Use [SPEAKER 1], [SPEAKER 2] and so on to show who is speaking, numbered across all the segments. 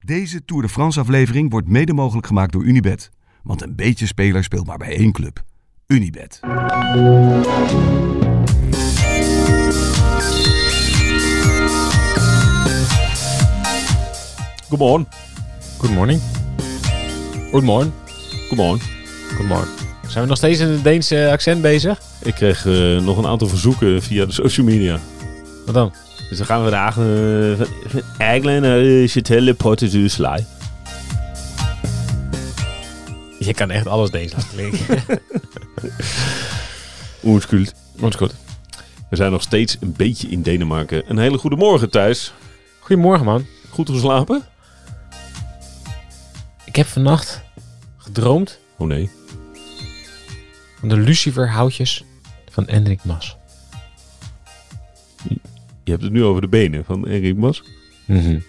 [SPEAKER 1] Deze Tour de France aflevering wordt mede mogelijk gemaakt door Unibet. Want een beetje speler speelt maar bij één club. Unibet.
[SPEAKER 2] Good morning.
[SPEAKER 3] Good morning.
[SPEAKER 2] Good morning. Good morning.
[SPEAKER 3] Good morning. Zijn we nog steeds in het Deense accent bezig?
[SPEAKER 2] Ik kreeg eh, nog een aantal verzoeken via de social media.
[SPEAKER 3] Wat dan?
[SPEAKER 2] Dus dan gaan we vandaag uh, eigenlijk naar de Chitelle Porte du Sly.
[SPEAKER 3] Je kan echt alles Deens laten klinken.
[SPEAKER 2] Oerskult.
[SPEAKER 3] Ons goed.
[SPEAKER 2] We zijn nog steeds een beetje in Denemarken. Een hele goede morgen, Thijs.
[SPEAKER 3] Goedemorgen man.
[SPEAKER 2] Goed geslapen?
[SPEAKER 3] Ik heb vannacht gedroomd
[SPEAKER 2] Oh nee.
[SPEAKER 3] van de luciferhoutjes van Hendrik Mas.
[SPEAKER 2] Je hebt het nu over de benen van Erik Mas.
[SPEAKER 3] Mhm. Ik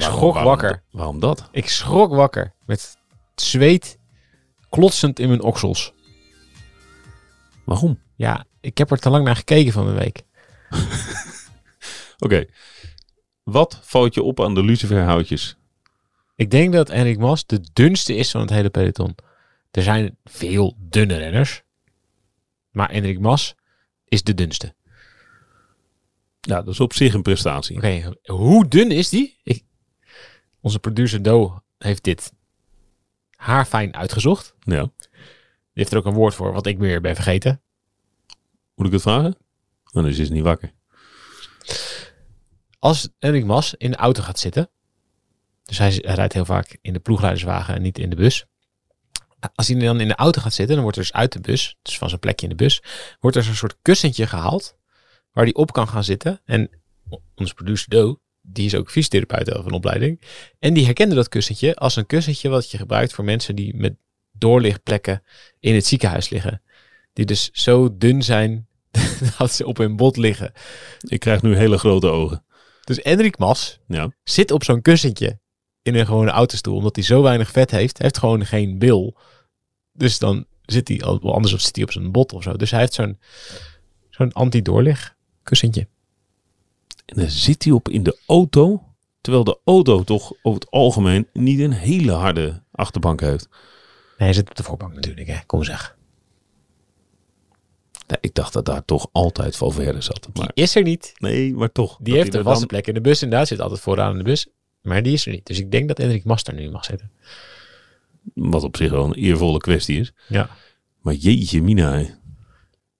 [SPEAKER 2] Waarom-
[SPEAKER 3] schrok
[SPEAKER 2] waarom-
[SPEAKER 3] wakker.
[SPEAKER 2] Waarom dat?
[SPEAKER 3] Ik schrok wakker met zweet klotsend in mijn oksels.
[SPEAKER 2] Waarom?
[SPEAKER 3] Ja, ik heb er te lang naar gekeken van de week.
[SPEAKER 2] Oké. Wat valt je op aan de luciferhoutjes?
[SPEAKER 3] Ik denk dat Enric Mas de dunste is van het hele peloton. Er zijn veel dunne renners. Maar Enric Mas is de dunste.
[SPEAKER 2] Ja, dat is op zich een prestatie.
[SPEAKER 3] Oké, hoe dun is die? Ik... Onze producer Do heeft dit haarfijn uitgezocht. Die
[SPEAKER 2] Ja.
[SPEAKER 3] heeft er ook een woord voor, wat ik weer ben vergeten.
[SPEAKER 2] Moet ik het vragen? Dan is ze niet wakker.
[SPEAKER 3] Als Enric Mas in de auto gaat zitten. Dus hij, hij rijdt heel vaak in de ploegleiderswagen en niet in de bus. Als hij dan in de auto gaat zitten, dan wordt er dus uit de bus, dus van zijn plekje in de bus, wordt er zo'n soort kussentje gehaald waar hij op kan gaan zitten. En onze producer Do, die is ook fysiotherapeut van opleiding. En die herkende dat kussentje als een kussentje wat je gebruikt voor mensen die met doorlichtplekken in het ziekenhuis liggen. Die dus zo dun zijn dat ze op hun bot liggen.
[SPEAKER 2] Ik krijg nu hele grote ogen.
[SPEAKER 3] Dus Enrik Mas
[SPEAKER 2] Ja.
[SPEAKER 3] zit op zo'n kussentje in een gewone autostoel, omdat hij zo weinig vet heeft. Hij heeft gewoon geen bil. Dus dan zit hij, al- anders of zit hij op zijn bot of zo. Dus hij heeft zo'n zo'n anti-doorlig kussentje.
[SPEAKER 2] En dan zit hij op in de auto. Terwijl de auto toch over het algemeen niet een hele harde achterbank heeft.
[SPEAKER 3] Nee, hij zit op de voorbank natuurlijk, hè. Kom zeg.
[SPEAKER 2] Nou, ik dacht dat daar toch altijd Valverde zat.
[SPEAKER 3] Die
[SPEAKER 2] Maar,
[SPEAKER 3] is er niet.
[SPEAKER 2] nee, maar toch.
[SPEAKER 3] Die heeft een vaste plek in de bus inderdaad. Zit altijd vooraan in de bus. Maar die is er niet. Dus ik denk dat Enrik Mas daar nu mag zitten.
[SPEAKER 2] Wat op zich wel een eervolle kwestie is.
[SPEAKER 3] Ja.
[SPEAKER 2] Maar jeetje mina. hè.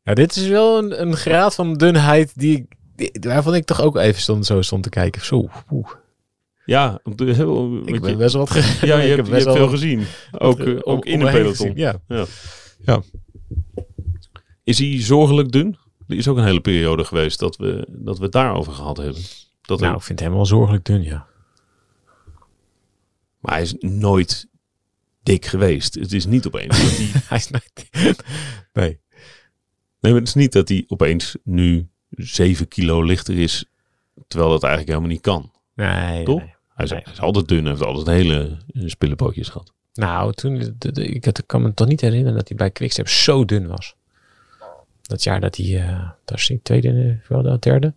[SPEAKER 3] Ja, dit is wel een, een graad van dunheid die ik, die- waarvan ik toch ook even stond, zo stond te kijken. Zo, oeh.
[SPEAKER 2] Ja, om te- heel,
[SPEAKER 3] Ik
[SPEAKER 2] want je-
[SPEAKER 3] ben best wel wat ge-
[SPEAKER 2] ja,
[SPEAKER 3] ik
[SPEAKER 2] je
[SPEAKER 3] heb
[SPEAKER 2] hebt, je hebt
[SPEAKER 3] best wel
[SPEAKER 2] veel
[SPEAKER 3] wat
[SPEAKER 2] gezien. Ook,
[SPEAKER 3] ge-
[SPEAKER 2] eh,
[SPEAKER 3] om-
[SPEAKER 2] ook in de
[SPEAKER 3] omheen
[SPEAKER 2] peloton.
[SPEAKER 3] gezien, Ja.
[SPEAKER 2] Ja.
[SPEAKER 3] Ja.
[SPEAKER 2] Is hij zorgelijk dun? Er is ook een hele periode geweest dat we, dat we het daarover gehad hebben. Dat
[SPEAKER 3] Nou,
[SPEAKER 2] er-
[SPEAKER 3] ik vind hem wel zorgelijk dun, ja.
[SPEAKER 2] maar hij is nooit dik geweest. Het is niet opeens. dat hij,
[SPEAKER 3] Hij is nooit... Nee.
[SPEAKER 2] nee, maar het is niet dat hij opeens nu 7 kilo lichter is. Terwijl dat eigenlijk helemaal niet kan.
[SPEAKER 3] Nee,
[SPEAKER 2] Toch?
[SPEAKER 3] nee.
[SPEAKER 2] Hij is,
[SPEAKER 3] Nee.
[SPEAKER 2] hij is altijd dun. Hij heeft altijd hele eh, spullenpootjes gehad.
[SPEAKER 3] Nou, toen, de- de- de- ik had- ik kan me toch niet herinneren dat hij bij Quickstep zo dun was. Dat jaar dat hij, eh daar is hij tweede, in de Vuelta, derde.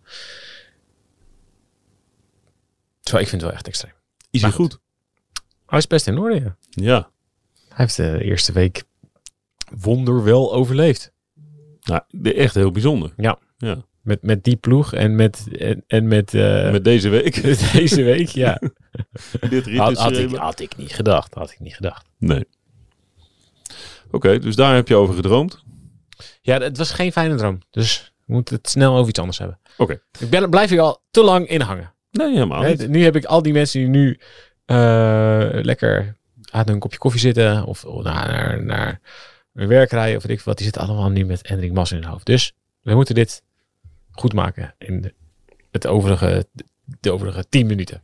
[SPEAKER 3] Zo, ik vind het wel echt extreem.
[SPEAKER 2] Is
[SPEAKER 3] Maar
[SPEAKER 2] hij goed?
[SPEAKER 3] Hij is best in orde, ja.
[SPEAKER 2] Ja.
[SPEAKER 3] Hij heeft de eerste week wonderwel overleefd.
[SPEAKER 2] Nou, de- echt heel bijzonder.
[SPEAKER 3] Met, met die ploeg en met, en, en met, eh,
[SPEAKER 2] Met deze week.
[SPEAKER 3] deze week, ja.
[SPEAKER 2] dit
[SPEAKER 3] Had, had ik,
[SPEAKER 2] rittenschema.
[SPEAKER 3] had ik niet gedacht. Had ik niet gedacht.
[SPEAKER 2] Nee. Oké, dus daar heb je over gedroomd.
[SPEAKER 3] Ja, het was geen fijne droom. Dus we moeten het snel over iets anders hebben.
[SPEAKER 2] Oké.
[SPEAKER 3] Ik ben, blijf hier al te lang in hangen.
[SPEAKER 2] Nee, helemaal
[SPEAKER 3] Hè,
[SPEAKER 2] niet.
[SPEAKER 3] nu heb ik al die mensen die nu eh, lekker aan een kopje koffie zitten. Of naar, naar, naar hun werk rijden. Of weet ik veel wat. Die zitten allemaal nu met Hendrik Mas in hun hoofd. Dus we moeten dit goed maken. In de, het overige, de overige tien minuten.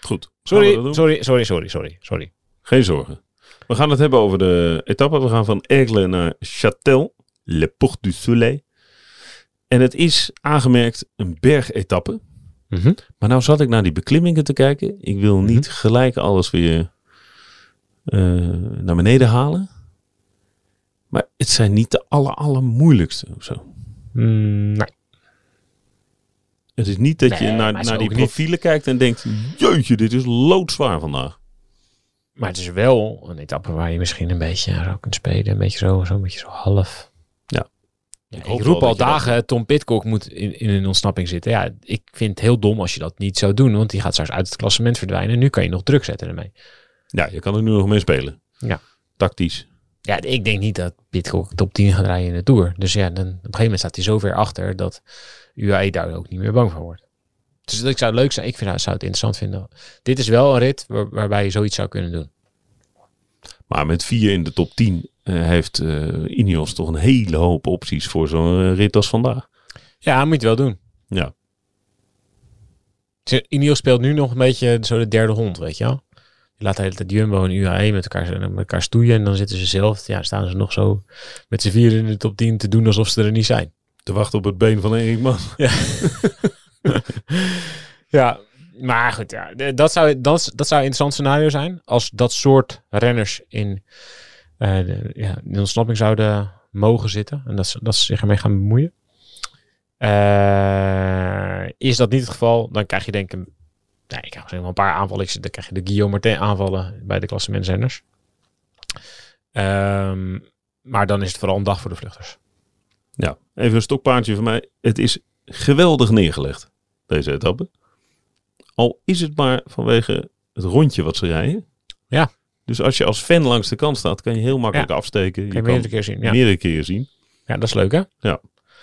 [SPEAKER 2] Goed. Gaan we dat
[SPEAKER 3] Sorry,
[SPEAKER 2] doen?
[SPEAKER 3] sorry, sorry, sorry, sorry, sorry.
[SPEAKER 2] Geen zorgen. We gaan het hebben over de etappe. We gaan van Aigle naar Châtel, Le Port du Soleil. En het is aangemerkt een bergetappe. Maar nou zat ik naar die beklimmingen te kijken. Ik wil niet gelijk alles weer eh, naar beneden halen. Maar het
[SPEAKER 3] nou.
[SPEAKER 2] zijn niet de aller, allermoeilijkste of zo.
[SPEAKER 3] Mm, nee.
[SPEAKER 2] Het is niet dat je
[SPEAKER 3] Nee,
[SPEAKER 2] naar,
[SPEAKER 3] maar is
[SPEAKER 2] naar die
[SPEAKER 3] ook niet-
[SPEAKER 2] profielen kijkt en denkt... Jeetje, dit is loodzwaar vandaag.
[SPEAKER 3] Maar het is wel een etappe waar je misschien een beetje aan zou kunt spelen. Een beetje zo, zo, een beetje zo half.
[SPEAKER 2] Ja.
[SPEAKER 3] Ja,
[SPEAKER 2] Ik
[SPEAKER 3] ik,
[SPEAKER 2] hoop wel
[SPEAKER 3] roep al
[SPEAKER 2] dat je dat
[SPEAKER 3] dagen, Tom Pitcock moet in, in een ontsnapping zitten. Ja, ik vind het heel dom als je dat niet zou doen. Want die gaat straks uit het klassement verdwijnen. En nu kan je nog druk zetten ermee.
[SPEAKER 2] Ja, je kan er nu nog mee spelen.
[SPEAKER 3] Ja.
[SPEAKER 2] Tactisch.
[SPEAKER 3] Ja, ik denk niet dat Pitcock top 10 gaat rijden in de Tour. Dus ja, dan, op een gegeven moment staat hij zo ver achter dat UAE daar ook niet meer bang van wordt. Dus dat ik zou het leuk zijn. Ik vind, zou het interessant vinden. Dit is wel een rit waar- waarbij je zoiets zou kunnen doen.
[SPEAKER 2] Maar met vier in de top 10 eh, heeft eh Ineos toch een hele hoop opties voor zo'n eh, rit als vandaag.
[SPEAKER 3] Ja, moet je het wel doen.
[SPEAKER 2] Ja.
[SPEAKER 3] Ze- Ineos speelt nu nog een beetje zo de derde hond, weet je wel. Je laat de hele tijd Jumbo en UAE met elkaar, met elkaar stoeien. En dan zitten ze zelf, ja, staan ze nog zo met z'n vier in de top 10 te doen alsof ze er niet zijn.
[SPEAKER 2] Te wachten op het been van Erik Man.
[SPEAKER 3] Ja, maar goed, ja, d- dat, zou, dat, dat zou een interessant scenario zijn. Als dat soort renners in, eh, de, ja, in de ontsnapping zouden mogen zitten. En dat, ze- dat ze zich ermee gaan bemoeien. Eh, is dat niet het geval, dan krijg je denk ik... een- Nee, ik krijg misschien wel een paar aanvallen. Ik zit- Dan krijg je de Guillaume Martin aanvallen bij de klassementsrenners. Ehm maar dan is het vooral een dag voor de vluchters.
[SPEAKER 2] Ja, even een stokpaardje van mij. Het is geweldig neergelegd, deze etappe. Al is het maar vanwege het rondje wat ze rijden.
[SPEAKER 3] Ja.
[SPEAKER 2] Dus als je als fan langs de kant staat, kan je heel makkelijk afsteken.
[SPEAKER 3] Kan
[SPEAKER 2] je
[SPEAKER 3] je meerdere keer zien. Ja.
[SPEAKER 2] meerdere keren zien.
[SPEAKER 3] ja, dat is leuk hè?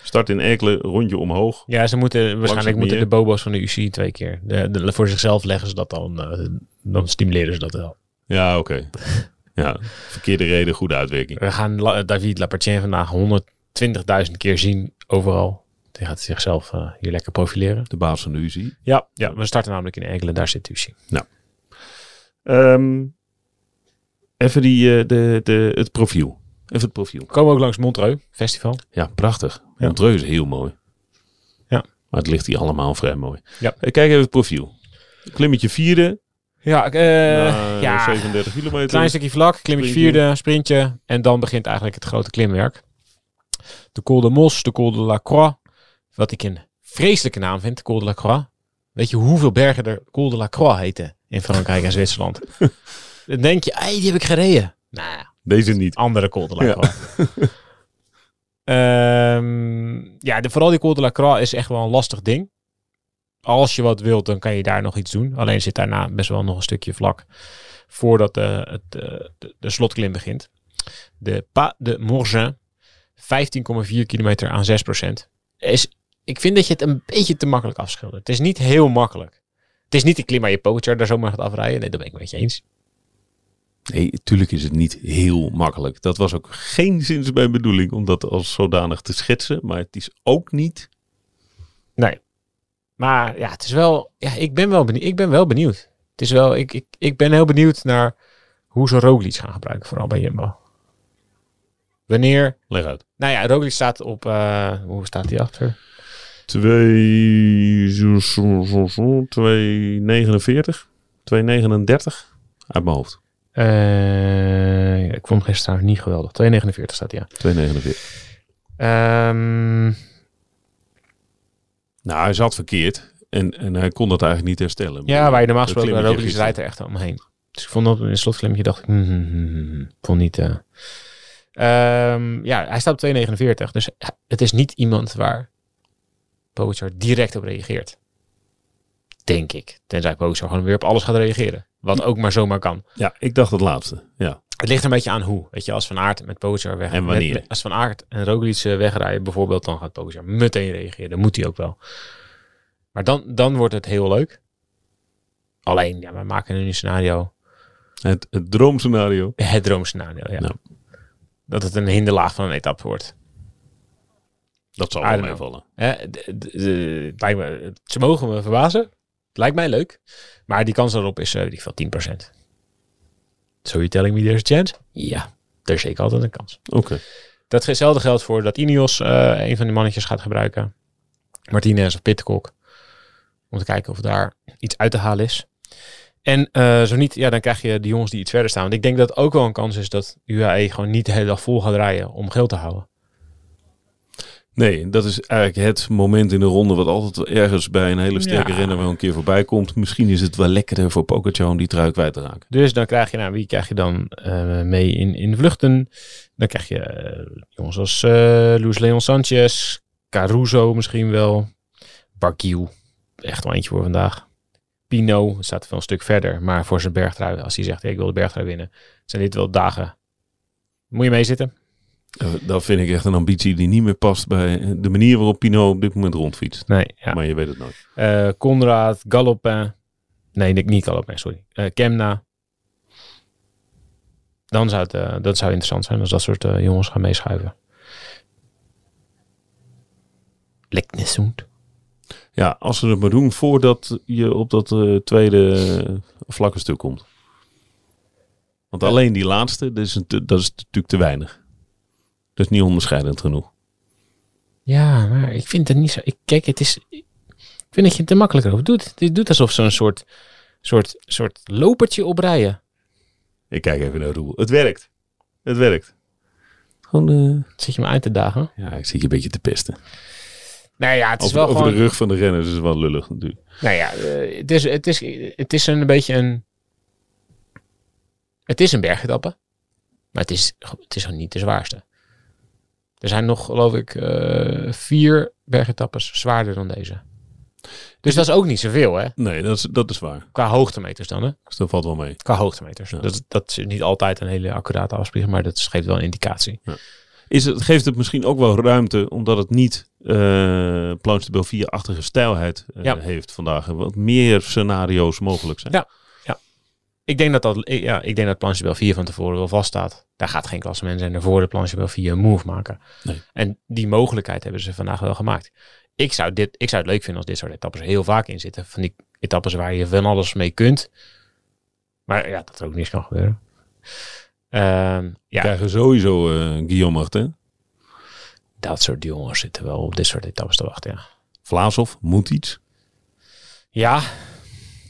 [SPEAKER 2] Start in Erkelen, rondje omhoog.
[SPEAKER 3] Ja, ze moeten waarschijnlijk
[SPEAKER 2] het
[SPEAKER 3] moeten de
[SPEAKER 2] meer.
[SPEAKER 3] bobo's van de UC twee keer. De, de- voor zichzelf leggen ze dat dan. eh, dan stimuleren ze dat wel.
[SPEAKER 2] Ja, oké. ja, verkeerde reden, goede uitwerking.
[SPEAKER 3] We gaan La- David Lapertien vandaag 120.000 keer zien overal. Die gaat zichzelf eh, hier lekker profileren.
[SPEAKER 2] De baas van de UCI.
[SPEAKER 3] Ja, ja, we starten namelijk in Enkelen, daar zit de UC.
[SPEAKER 2] Ehm, even die, eh, de, de, het profiel. Even het profiel.
[SPEAKER 3] We komen ook langs Montreux Festival.
[SPEAKER 2] Ja, prachtig.
[SPEAKER 3] Ja.
[SPEAKER 2] Montreux is heel mooi.
[SPEAKER 3] Ja.
[SPEAKER 2] Maar het ligt hier allemaal vrij mooi.
[SPEAKER 3] Ja.
[SPEAKER 2] Eh, kijk even het profiel. Klimmetje vierde.
[SPEAKER 3] Ja, ik, eh,
[SPEAKER 2] na
[SPEAKER 3] ja.
[SPEAKER 2] 37 kilometer.
[SPEAKER 3] Klein stukje vlak, klimmetje
[SPEAKER 2] Sprintje.
[SPEAKER 3] vierde, sprintje. En dan begint eigenlijk het grote klimwerk. De Col de Mos, de Col de la Croix. Wat ik een vreselijke naam vind, Col de la Croix. Weet je hoeveel bergen er Col de la Croix heten in Frankrijk en Zwitserland? dan denk je, ei, die heb ik gereden. Nou,
[SPEAKER 2] Deze niet.
[SPEAKER 3] andere Col de la
[SPEAKER 2] Ja.
[SPEAKER 3] Croix. Ehm, ja, de, vooral die Col de la Croix is echt wel een lastig ding. Als je wat wilt, dan kan je daar nog iets doen. Alleen zit daarna best wel nog een stukje vlak voordat eh, het, eh, de, de slotklim begint. De Pa de Morgin, 15,4 kilometer aan 6 Is, ik vind dat je het een beetje te makkelijk afschildert. Het is niet heel makkelijk. Het is niet de klim waar je Pogacar daar zomaar gaat afrijden. Nee, dat ben ik met je eens.
[SPEAKER 2] Nee, tuurlijk is het niet heel makkelijk. Dat was ook geen zins mijn bedoeling om dat als zodanig te schetsen. Maar het is ook niet...
[SPEAKER 3] Maar ja, het is wel. Ja, ik ben wel benieuwd. Ik ben wel benieuwd. Het is wel. Ik, ik, ik ben heel benieuwd naar hoe ze Roglic gaan gebruiken, vooral bij Jumbo. Wanneer.
[SPEAKER 2] Leg uit.
[SPEAKER 3] Nou ja, Roglic staat op. eh, hoe staat hij achter?
[SPEAKER 2] 2,49. 2,39. Uit mijn hoofd.
[SPEAKER 3] Eh, ja, ik vond hem gisteren niet geweldig. 2,49 staat hij aan.
[SPEAKER 2] 2,49.
[SPEAKER 3] Ehm,
[SPEAKER 2] Nou, hij zat verkeerd. En, en hij kon dat eigenlijk niet herstellen.
[SPEAKER 3] ja, waar je normaal
[SPEAKER 2] Dat
[SPEAKER 3] gesproken bij
[SPEAKER 2] klimmetje gisteren.
[SPEAKER 3] Roglic rijdt er echt omheen. Dus ik vond dat in het slotklimmetje dacht ik. hmm, hmm, hmm, hmm. vond niet. eh. Ehm, ja, hij staat op 2,49. Dus het is niet iemand waar Pogacar direct op reageert. Denk ik. Tenzij Pogacar gewoon weer op alles gaat reageren. Wat ook maar zomaar kan.
[SPEAKER 2] Ja, ik dacht het laatste. Ja.
[SPEAKER 3] Het ligt een beetje aan hoe. Weet je, als Van Aert met Pogacar weg...
[SPEAKER 2] En wanneer.
[SPEAKER 3] met- als Van Aert en Roglic eh, wegrijden bijvoorbeeld, dan gaat Pogacar meteen reageren. Dan moet hij ook wel. Maar dan, dan wordt het heel leuk. Alleen, ja, we maken nu een scenario.
[SPEAKER 2] Het, het droomscenario.
[SPEAKER 3] Het droomscenario, ja.
[SPEAKER 2] Nou.
[SPEAKER 3] Dat het een hinderlaag van een etappe wordt.
[SPEAKER 2] Dat zal
[SPEAKER 3] I
[SPEAKER 2] wel
[SPEAKER 3] don't
[SPEAKER 2] meevallen.
[SPEAKER 3] Hè, d- d- d- het lijkt me, ze mogen me verbazen. Het lijkt mij leuk. Maar die kans daarop is, eh, weet ik veel, 10%. So you telling me there's a chance? Ja, er is zeker altijd een kans.
[SPEAKER 2] Oké.
[SPEAKER 3] Datzelfde geldt voor dat Ineos eh, een van de mannetjes gaat gebruiken. Martinez of Pitcock. Om te kijken of daar iets uit te halen is. En eh, zo niet, ja, dan krijg je de jongens die iets verder staan. Want ik denk dat E het ook wel een kans is dat UAE gewoon niet de hele dag vol gaat rijden om geld te houden.
[SPEAKER 2] Nee, dat is eigenlijk het moment in de ronde wat altijd wel ergens bij een hele sterke
[SPEAKER 3] Ja.
[SPEAKER 2] renner wel een keer voorbij komt. Misschien is het wel lekkerder voor Pogacar om die trui kwijt te raken.
[SPEAKER 3] Dus dan krijg je, nou, wie krijg je dan eh, mee in, in de vluchten? Dan krijg je eh, jongens als eh Luis Leon Sanchez, Caruso misschien wel, Barguil, echt wel eentje voor vandaag. Pino staat wel een stuk verder, maar voor zijn bergtrui, als hij zegt, hey, ik wil de bergtrui winnen, zijn dit wel dagen. Moet je meezitten?
[SPEAKER 2] Eh, Dat vind ik echt een ambitie die niet meer past bij de manier waarop Pino op dit moment rondfietst.
[SPEAKER 3] Nee, ja.
[SPEAKER 2] Maar je weet het nooit.
[SPEAKER 3] Eh Conrad, Galopin. Nee, niet- niet Galopin, sorry. Eh Kemna. Dan zou het eh, dat zou interessant zijn als dat soort eh, jongens gaan meeschuiven. Leknesund.
[SPEAKER 2] Ja, als ze het maar doen voordat je op dat eh, tweede eh, vlakke stuk komt. Want alleen die laatste, dat is, een te- dat is natuurlijk te weinig. Dat is niet onderscheidend genoeg.
[SPEAKER 3] Ja, maar ik vind het niet zo. Ik, kijk, het is. Ik vind dat je het er makkelijker over doet. Dit doet alsof ze een soort, soort, soort lopertje oprijden.
[SPEAKER 2] Ik kijk even naar Roel. Het werkt. Het werkt. Gewoon, eh,
[SPEAKER 3] Zit je me uit te dagen?
[SPEAKER 2] ja, ik zit je een beetje te pesten.
[SPEAKER 3] Nou ja, het is
[SPEAKER 2] Over,
[SPEAKER 3] wel
[SPEAKER 2] over
[SPEAKER 3] gewoon.
[SPEAKER 2] de rug van de renners is wel lullig natuurlijk.
[SPEAKER 3] Nou ja, eh, het is, het is, het is een beetje een. Het is een bergetappe. Maar het is, het is gewoon niet de zwaarste. Er zijn nog, geloof ik, eh, vier bergetappes zwaarder dan deze. Dus dat is ook niet zoveel, hè?
[SPEAKER 2] Nee, dat is, dat is waar.
[SPEAKER 3] Qua hoogtemeters dan, hè?
[SPEAKER 2] Dus dat valt wel mee.
[SPEAKER 3] Qua hoogtemeters.
[SPEAKER 2] Ja.
[SPEAKER 3] Dat, dat is niet altijd een hele accurate afspiegeling, maar dat geeft wel een indicatie.
[SPEAKER 2] Is het, geeft het misschien ook wel ruimte, omdat het niet eh Planche de Belvier-achtige stijlheid eh,
[SPEAKER 3] Ja.
[SPEAKER 2] heeft vandaag. En Wat meer scenario's mogelijk zijn.
[SPEAKER 3] Ja. Ik denk dat, dat, ik- ja, ik denk dat Planchebel 4 van tevoren wel vaststaat. Daar gaat geen klassement zijn ervoor de Planchebel 4 een move maken.
[SPEAKER 2] Nee.
[SPEAKER 3] En die mogelijkheid hebben ze vandaag wel gemaakt. Ik zou, dit, ik zou het leuk vinden als dit soort etappes er heel vaak in zitten. Van die etappes waar je van alles mee kunt. Maar ja, dat er ook niks kan gebeuren. Ehm, ja,
[SPEAKER 2] Krijgen we sowieso eh Guillaume Martin.
[SPEAKER 3] dat soort jongens zitten wel op dit soort etappes te wachten. Ja,
[SPEAKER 2] Vlaashoff moet iets.
[SPEAKER 3] ja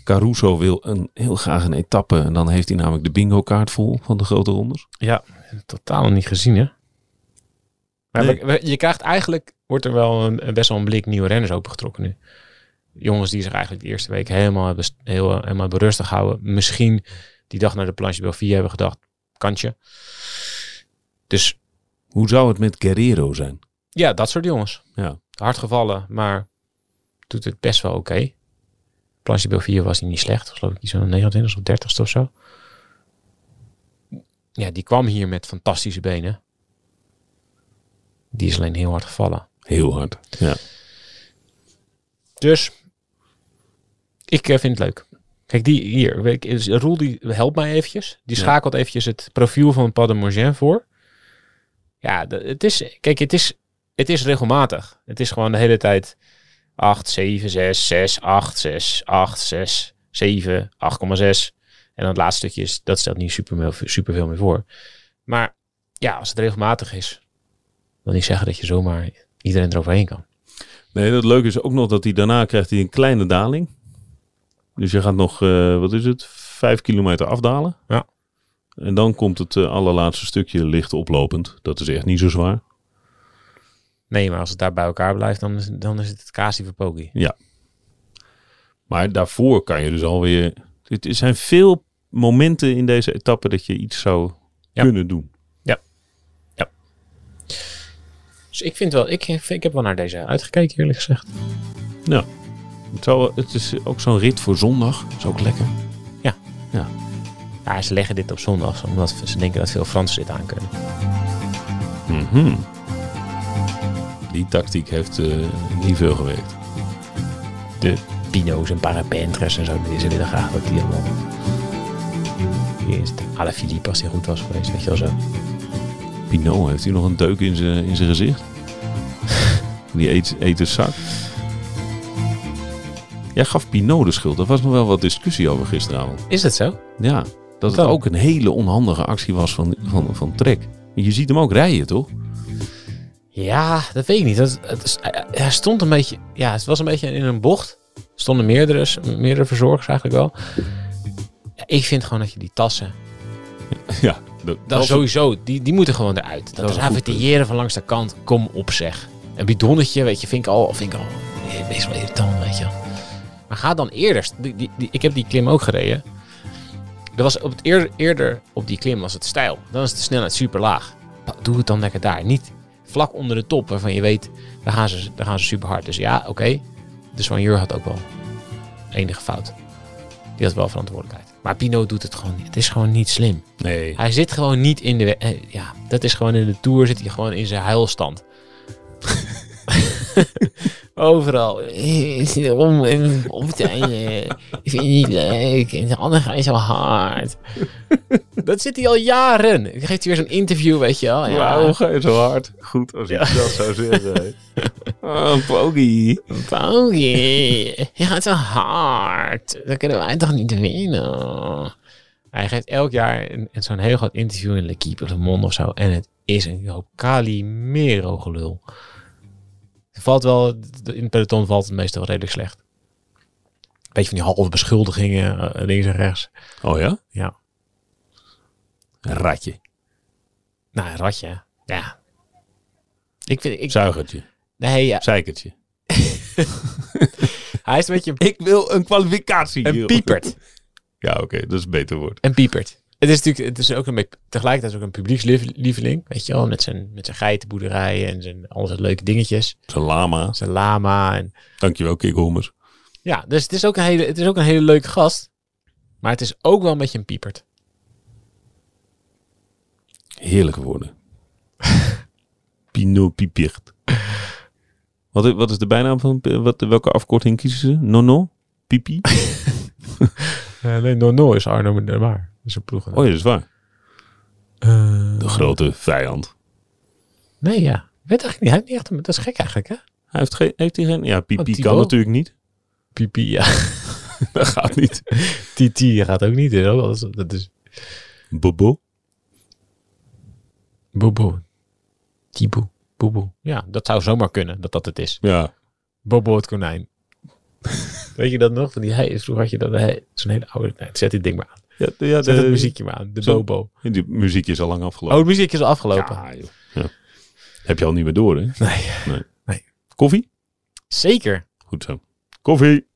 [SPEAKER 2] Caruso wil een, heel graag een etappe. En dan heeft hij namelijk de bingo-kaart vol van de grote rondes.
[SPEAKER 3] Ja, totaal niet gezien, hè? Maar
[SPEAKER 2] Nee.
[SPEAKER 3] we- we- je krijgt eigenlijk, wordt er wel een, een- best wel een blik nieuwe renners opengetrokken nu. Jongens die zich eigenlijk de eerste week helemaal hebben st- heel, eh, helemaal berustig houden. Misschien die dag naar de Planche Belvier hebben gedacht, kantje. Dus
[SPEAKER 2] Hoe zou het met Guerrero zijn?
[SPEAKER 3] ja, dat soort jongens.
[SPEAKER 2] Ja.
[SPEAKER 3] Hard gevallen, maar doet het best wel oké. Planche Belvier was hij niet slecht. Was geloof ik iets van 29 of 30 of zo. Ja, die kwam hier met fantastische benen. Die is alleen heel hard gevallen.
[SPEAKER 2] Heel hard. Ja.
[SPEAKER 3] Dus ik eh, vind het leuk. Kijk, die hier. ik- is- Roel die helpt mij eventjes. Die
[SPEAKER 2] Ja.
[SPEAKER 3] schakelt eventjes het profiel van Pas de Morgin voor. Ja, de- het is. Kijk, het is, het is regelmatig. Het is gewoon de hele tijd 8, 7, 6, 6, 8, 6, 8, 6, 7, 8,6. En dan het laatste stukje is, dat stelt niet super, super veel meer voor. Maar ja, als het regelmatig is, wil niet zeggen dat je zomaar iedereen eroverheen kan.
[SPEAKER 2] Nee, dat leuke is ook nog dat hij daarna krijgt hij een kleine daling. Dus je gaat nog, eh, wat is het, vijf kilometer afdalen.
[SPEAKER 3] Ja.
[SPEAKER 2] En dan komt het eh, allerlaatste stukje licht oplopend. Dat is echt niet zo zwaar.
[SPEAKER 3] Nee, maar als het daar bij elkaar blijft, dan is, dan is het het casie voor Pogi.
[SPEAKER 2] Maar daarvoor kan je dus alweer... Het er zijn veel momenten in deze etappe dat je iets zou
[SPEAKER 3] Ja.
[SPEAKER 2] kunnen doen.
[SPEAKER 3] Dus ik vind wel, ik, vind- ik heb wel naar deze uitgekeken, eerlijk gezegd.
[SPEAKER 2] Het, zou, wel- het is ook zo'n rit voor zondag. Dat is ook lekker.
[SPEAKER 3] Ja, ze leggen dit op zondag, omdat ze denken dat veel Fransen dit aan kunnen.
[SPEAKER 2] Mhm. Die tactiek heeft eh, niet veel gewerkt.
[SPEAKER 3] De Pino's en Parapentres en zo, die- ze willen graag dat die allemaal. Hier is de Alaphilippe als die goed was geweest, weet je wel zo.
[SPEAKER 2] Pinot, heeft hij nog een deuk in zijn in zijn gezicht? Die eet, eet een zak. Jij gaf Pinot de schuld. Daar was nog wel wat discussie over gisteravond.
[SPEAKER 3] Is dat zo?
[SPEAKER 2] Ja, dat het
[SPEAKER 3] dan?
[SPEAKER 2] ook een hele onhandige actie was van, van, van Trek. Je ziet hem ook rijden, toch?
[SPEAKER 3] Ja, dat weet ik niet. Dat, het is- hij- hij stond een beetje, ja, het was een beetje in een bocht. Er stonden meerdere, meerdere verzorgers eigenlijk wel. Ja, ik vind gewoon dat je die tassen
[SPEAKER 2] Ja, dat,
[SPEAKER 3] Dat sowieso, die, die moeten gewoon eruit. Dat,
[SPEAKER 2] is een goed
[SPEAKER 3] ravitilleren van langs de kant, kom op zeg. Een bidonnetje, weet je, vind ik al, vind ik al eh, best wel irritant, weet je. Maar ga dan eerder. Die, die, die- ik heb die klim ook gereden. Er was op het eer, eerder op die klim was het stijl. Dan is de snelheid super laag. Pa- Doe het dan lekker daar. Niet vlak onder de top waarvan je weet, daar gaan ze, daar gaan ze super hard. Dus ja, oké. De Soigneur had ook wel enige fout. Die had wel verantwoordelijkheid. Maar Pino doet het gewoon niet. Het is gewoon niet slim.
[SPEAKER 2] Nee.
[SPEAKER 3] Hij zit gewoon niet in de... we- eh, Ja, dat is gewoon in de Tour zit hij gewoon in zijn huilstand. Overal. Ik zit erom en op te einde. Ik vind het niet leuk. En de ander gaat zo hard. Dat zit hij al jaren. Dan geeft hij weer zo'n interview, weet je wel. Ja.
[SPEAKER 2] Waarom ga je zo hard? Goed, als ik dat zou zeggen. Ah, Pogi.
[SPEAKER 3] Paulie, je gaat zo hard. Dan kunnen wij toch niet winnen? Hij geeft elk jaar een- een- zo'n heel groot interview in L'Equipe of Le Monde of zo. En het is een hoop Calimero gelul. Het Valt wel, in het peloton valt het meestal wel redelijk slecht. Beetje van die halve beschuldigingen eh, links en rechts.
[SPEAKER 2] Oh ja?
[SPEAKER 3] Ja.
[SPEAKER 2] Een ratje.
[SPEAKER 3] Nou, een ratje. Ja. Ik vind, ik,
[SPEAKER 2] Zuigertje.
[SPEAKER 3] nee, ja.
[SPEAKER 2] Zeikertje.
[SPEAKER 3] hij is een beetje een-
[SPEAKER 2] Ik wil een kwalificatie.
[SPEAKER 3] een
[SPEAKER 2] joh.
[SPEAKER 3] piepert.
[SPEAKER 2] Ja, oké. dat is een beter woord.
[SPEAKER 3] En piepert. Het is natuurlijk, het is ook een beetje, tegelijkertijd ook een publiekslieveling. Weet je wel, met zijn, met zijn geitenboerderijen en zijn al zijn leuke dingetjes.
[SPEAKER 2] Zijn lama.
[SPEAKER 3] Zijn lama. En,
[SPEAKER 2] Dankjewel, Kikhommers.
[SPEAKER 3] ja, dus het is, ook een hele, het is ook een hele leuke gast. Maar het is ook wel een beetje een piepert.
[SPEAKER 2] Heerlijke woorden. Pino Pipicht. Wat, i- wat is de bijnaam van... Wat, welke afkorting kiezen ze? Nono? Pipi?
[SPEAKER 3] Alleen Nono is Arno de Maar. Dat is een ploeg. Eh,
[SPEAKER 2] Oh ja, dat is waar. De grote vijand.
[SPEAKER 3] nee, ja. Ik weet eigenlijk niet. Hij heeft niet echt een- dat is gek eigenlijk, hè?
[SPEAKER 2] Hij heeft, geen, heeft hij geen... Ja,
[SPEAKER 3] Oh,
[SPEAKER 2] Pipi kan
[SPEAKER 3] Thibaut.
[SPEAKER 2] natuurlijk niet.
[SPEAKER 3] Pipi, ja.
[SPEAKER 2] Dat gaat niet.
[SPEAKER 3] Titi gaat ook niet. Hè? Dat is, dat is
[SPEAKER 2] Bobo?
[SPEAKER 3] Bobo. Tiboe. Bobo. Ja, dat zou zomaar kunnen dat dat het is.
[SPEAKER 2] Ja.
[SPEAKER 3] Bobo het konijn. Weet je dat nog? Van die hei, vroeger had je dat hei, zo'n hele oude... Nee, zet dit ding maar aan.
[SPEAKER 2] Ja, de- ja,
[SPEAKER 3] Zet
[SPEAKER 2] de-
[SPEAKER 3] het muziekje maar aan. De
[SPEAKER 2] zo-
[SPEAKER 3] Bobo.
[SPEAKER 2] Die muziekje is al lang
[SPEAKER 3] Oh,
[SPEAKER 2] afgelopen.
[SPEAKER 3] het muziekje is al afgelopen.
[SPEAKER 2] Ja, joh. Ja. Heb je al niet meer door, hè?
[SPEAKER 3] Nee.
[SPEAKER 2] Koffie?
[SPEAKER 3] Zeker.
[SPEAKER 2] Goed zo. Koffie.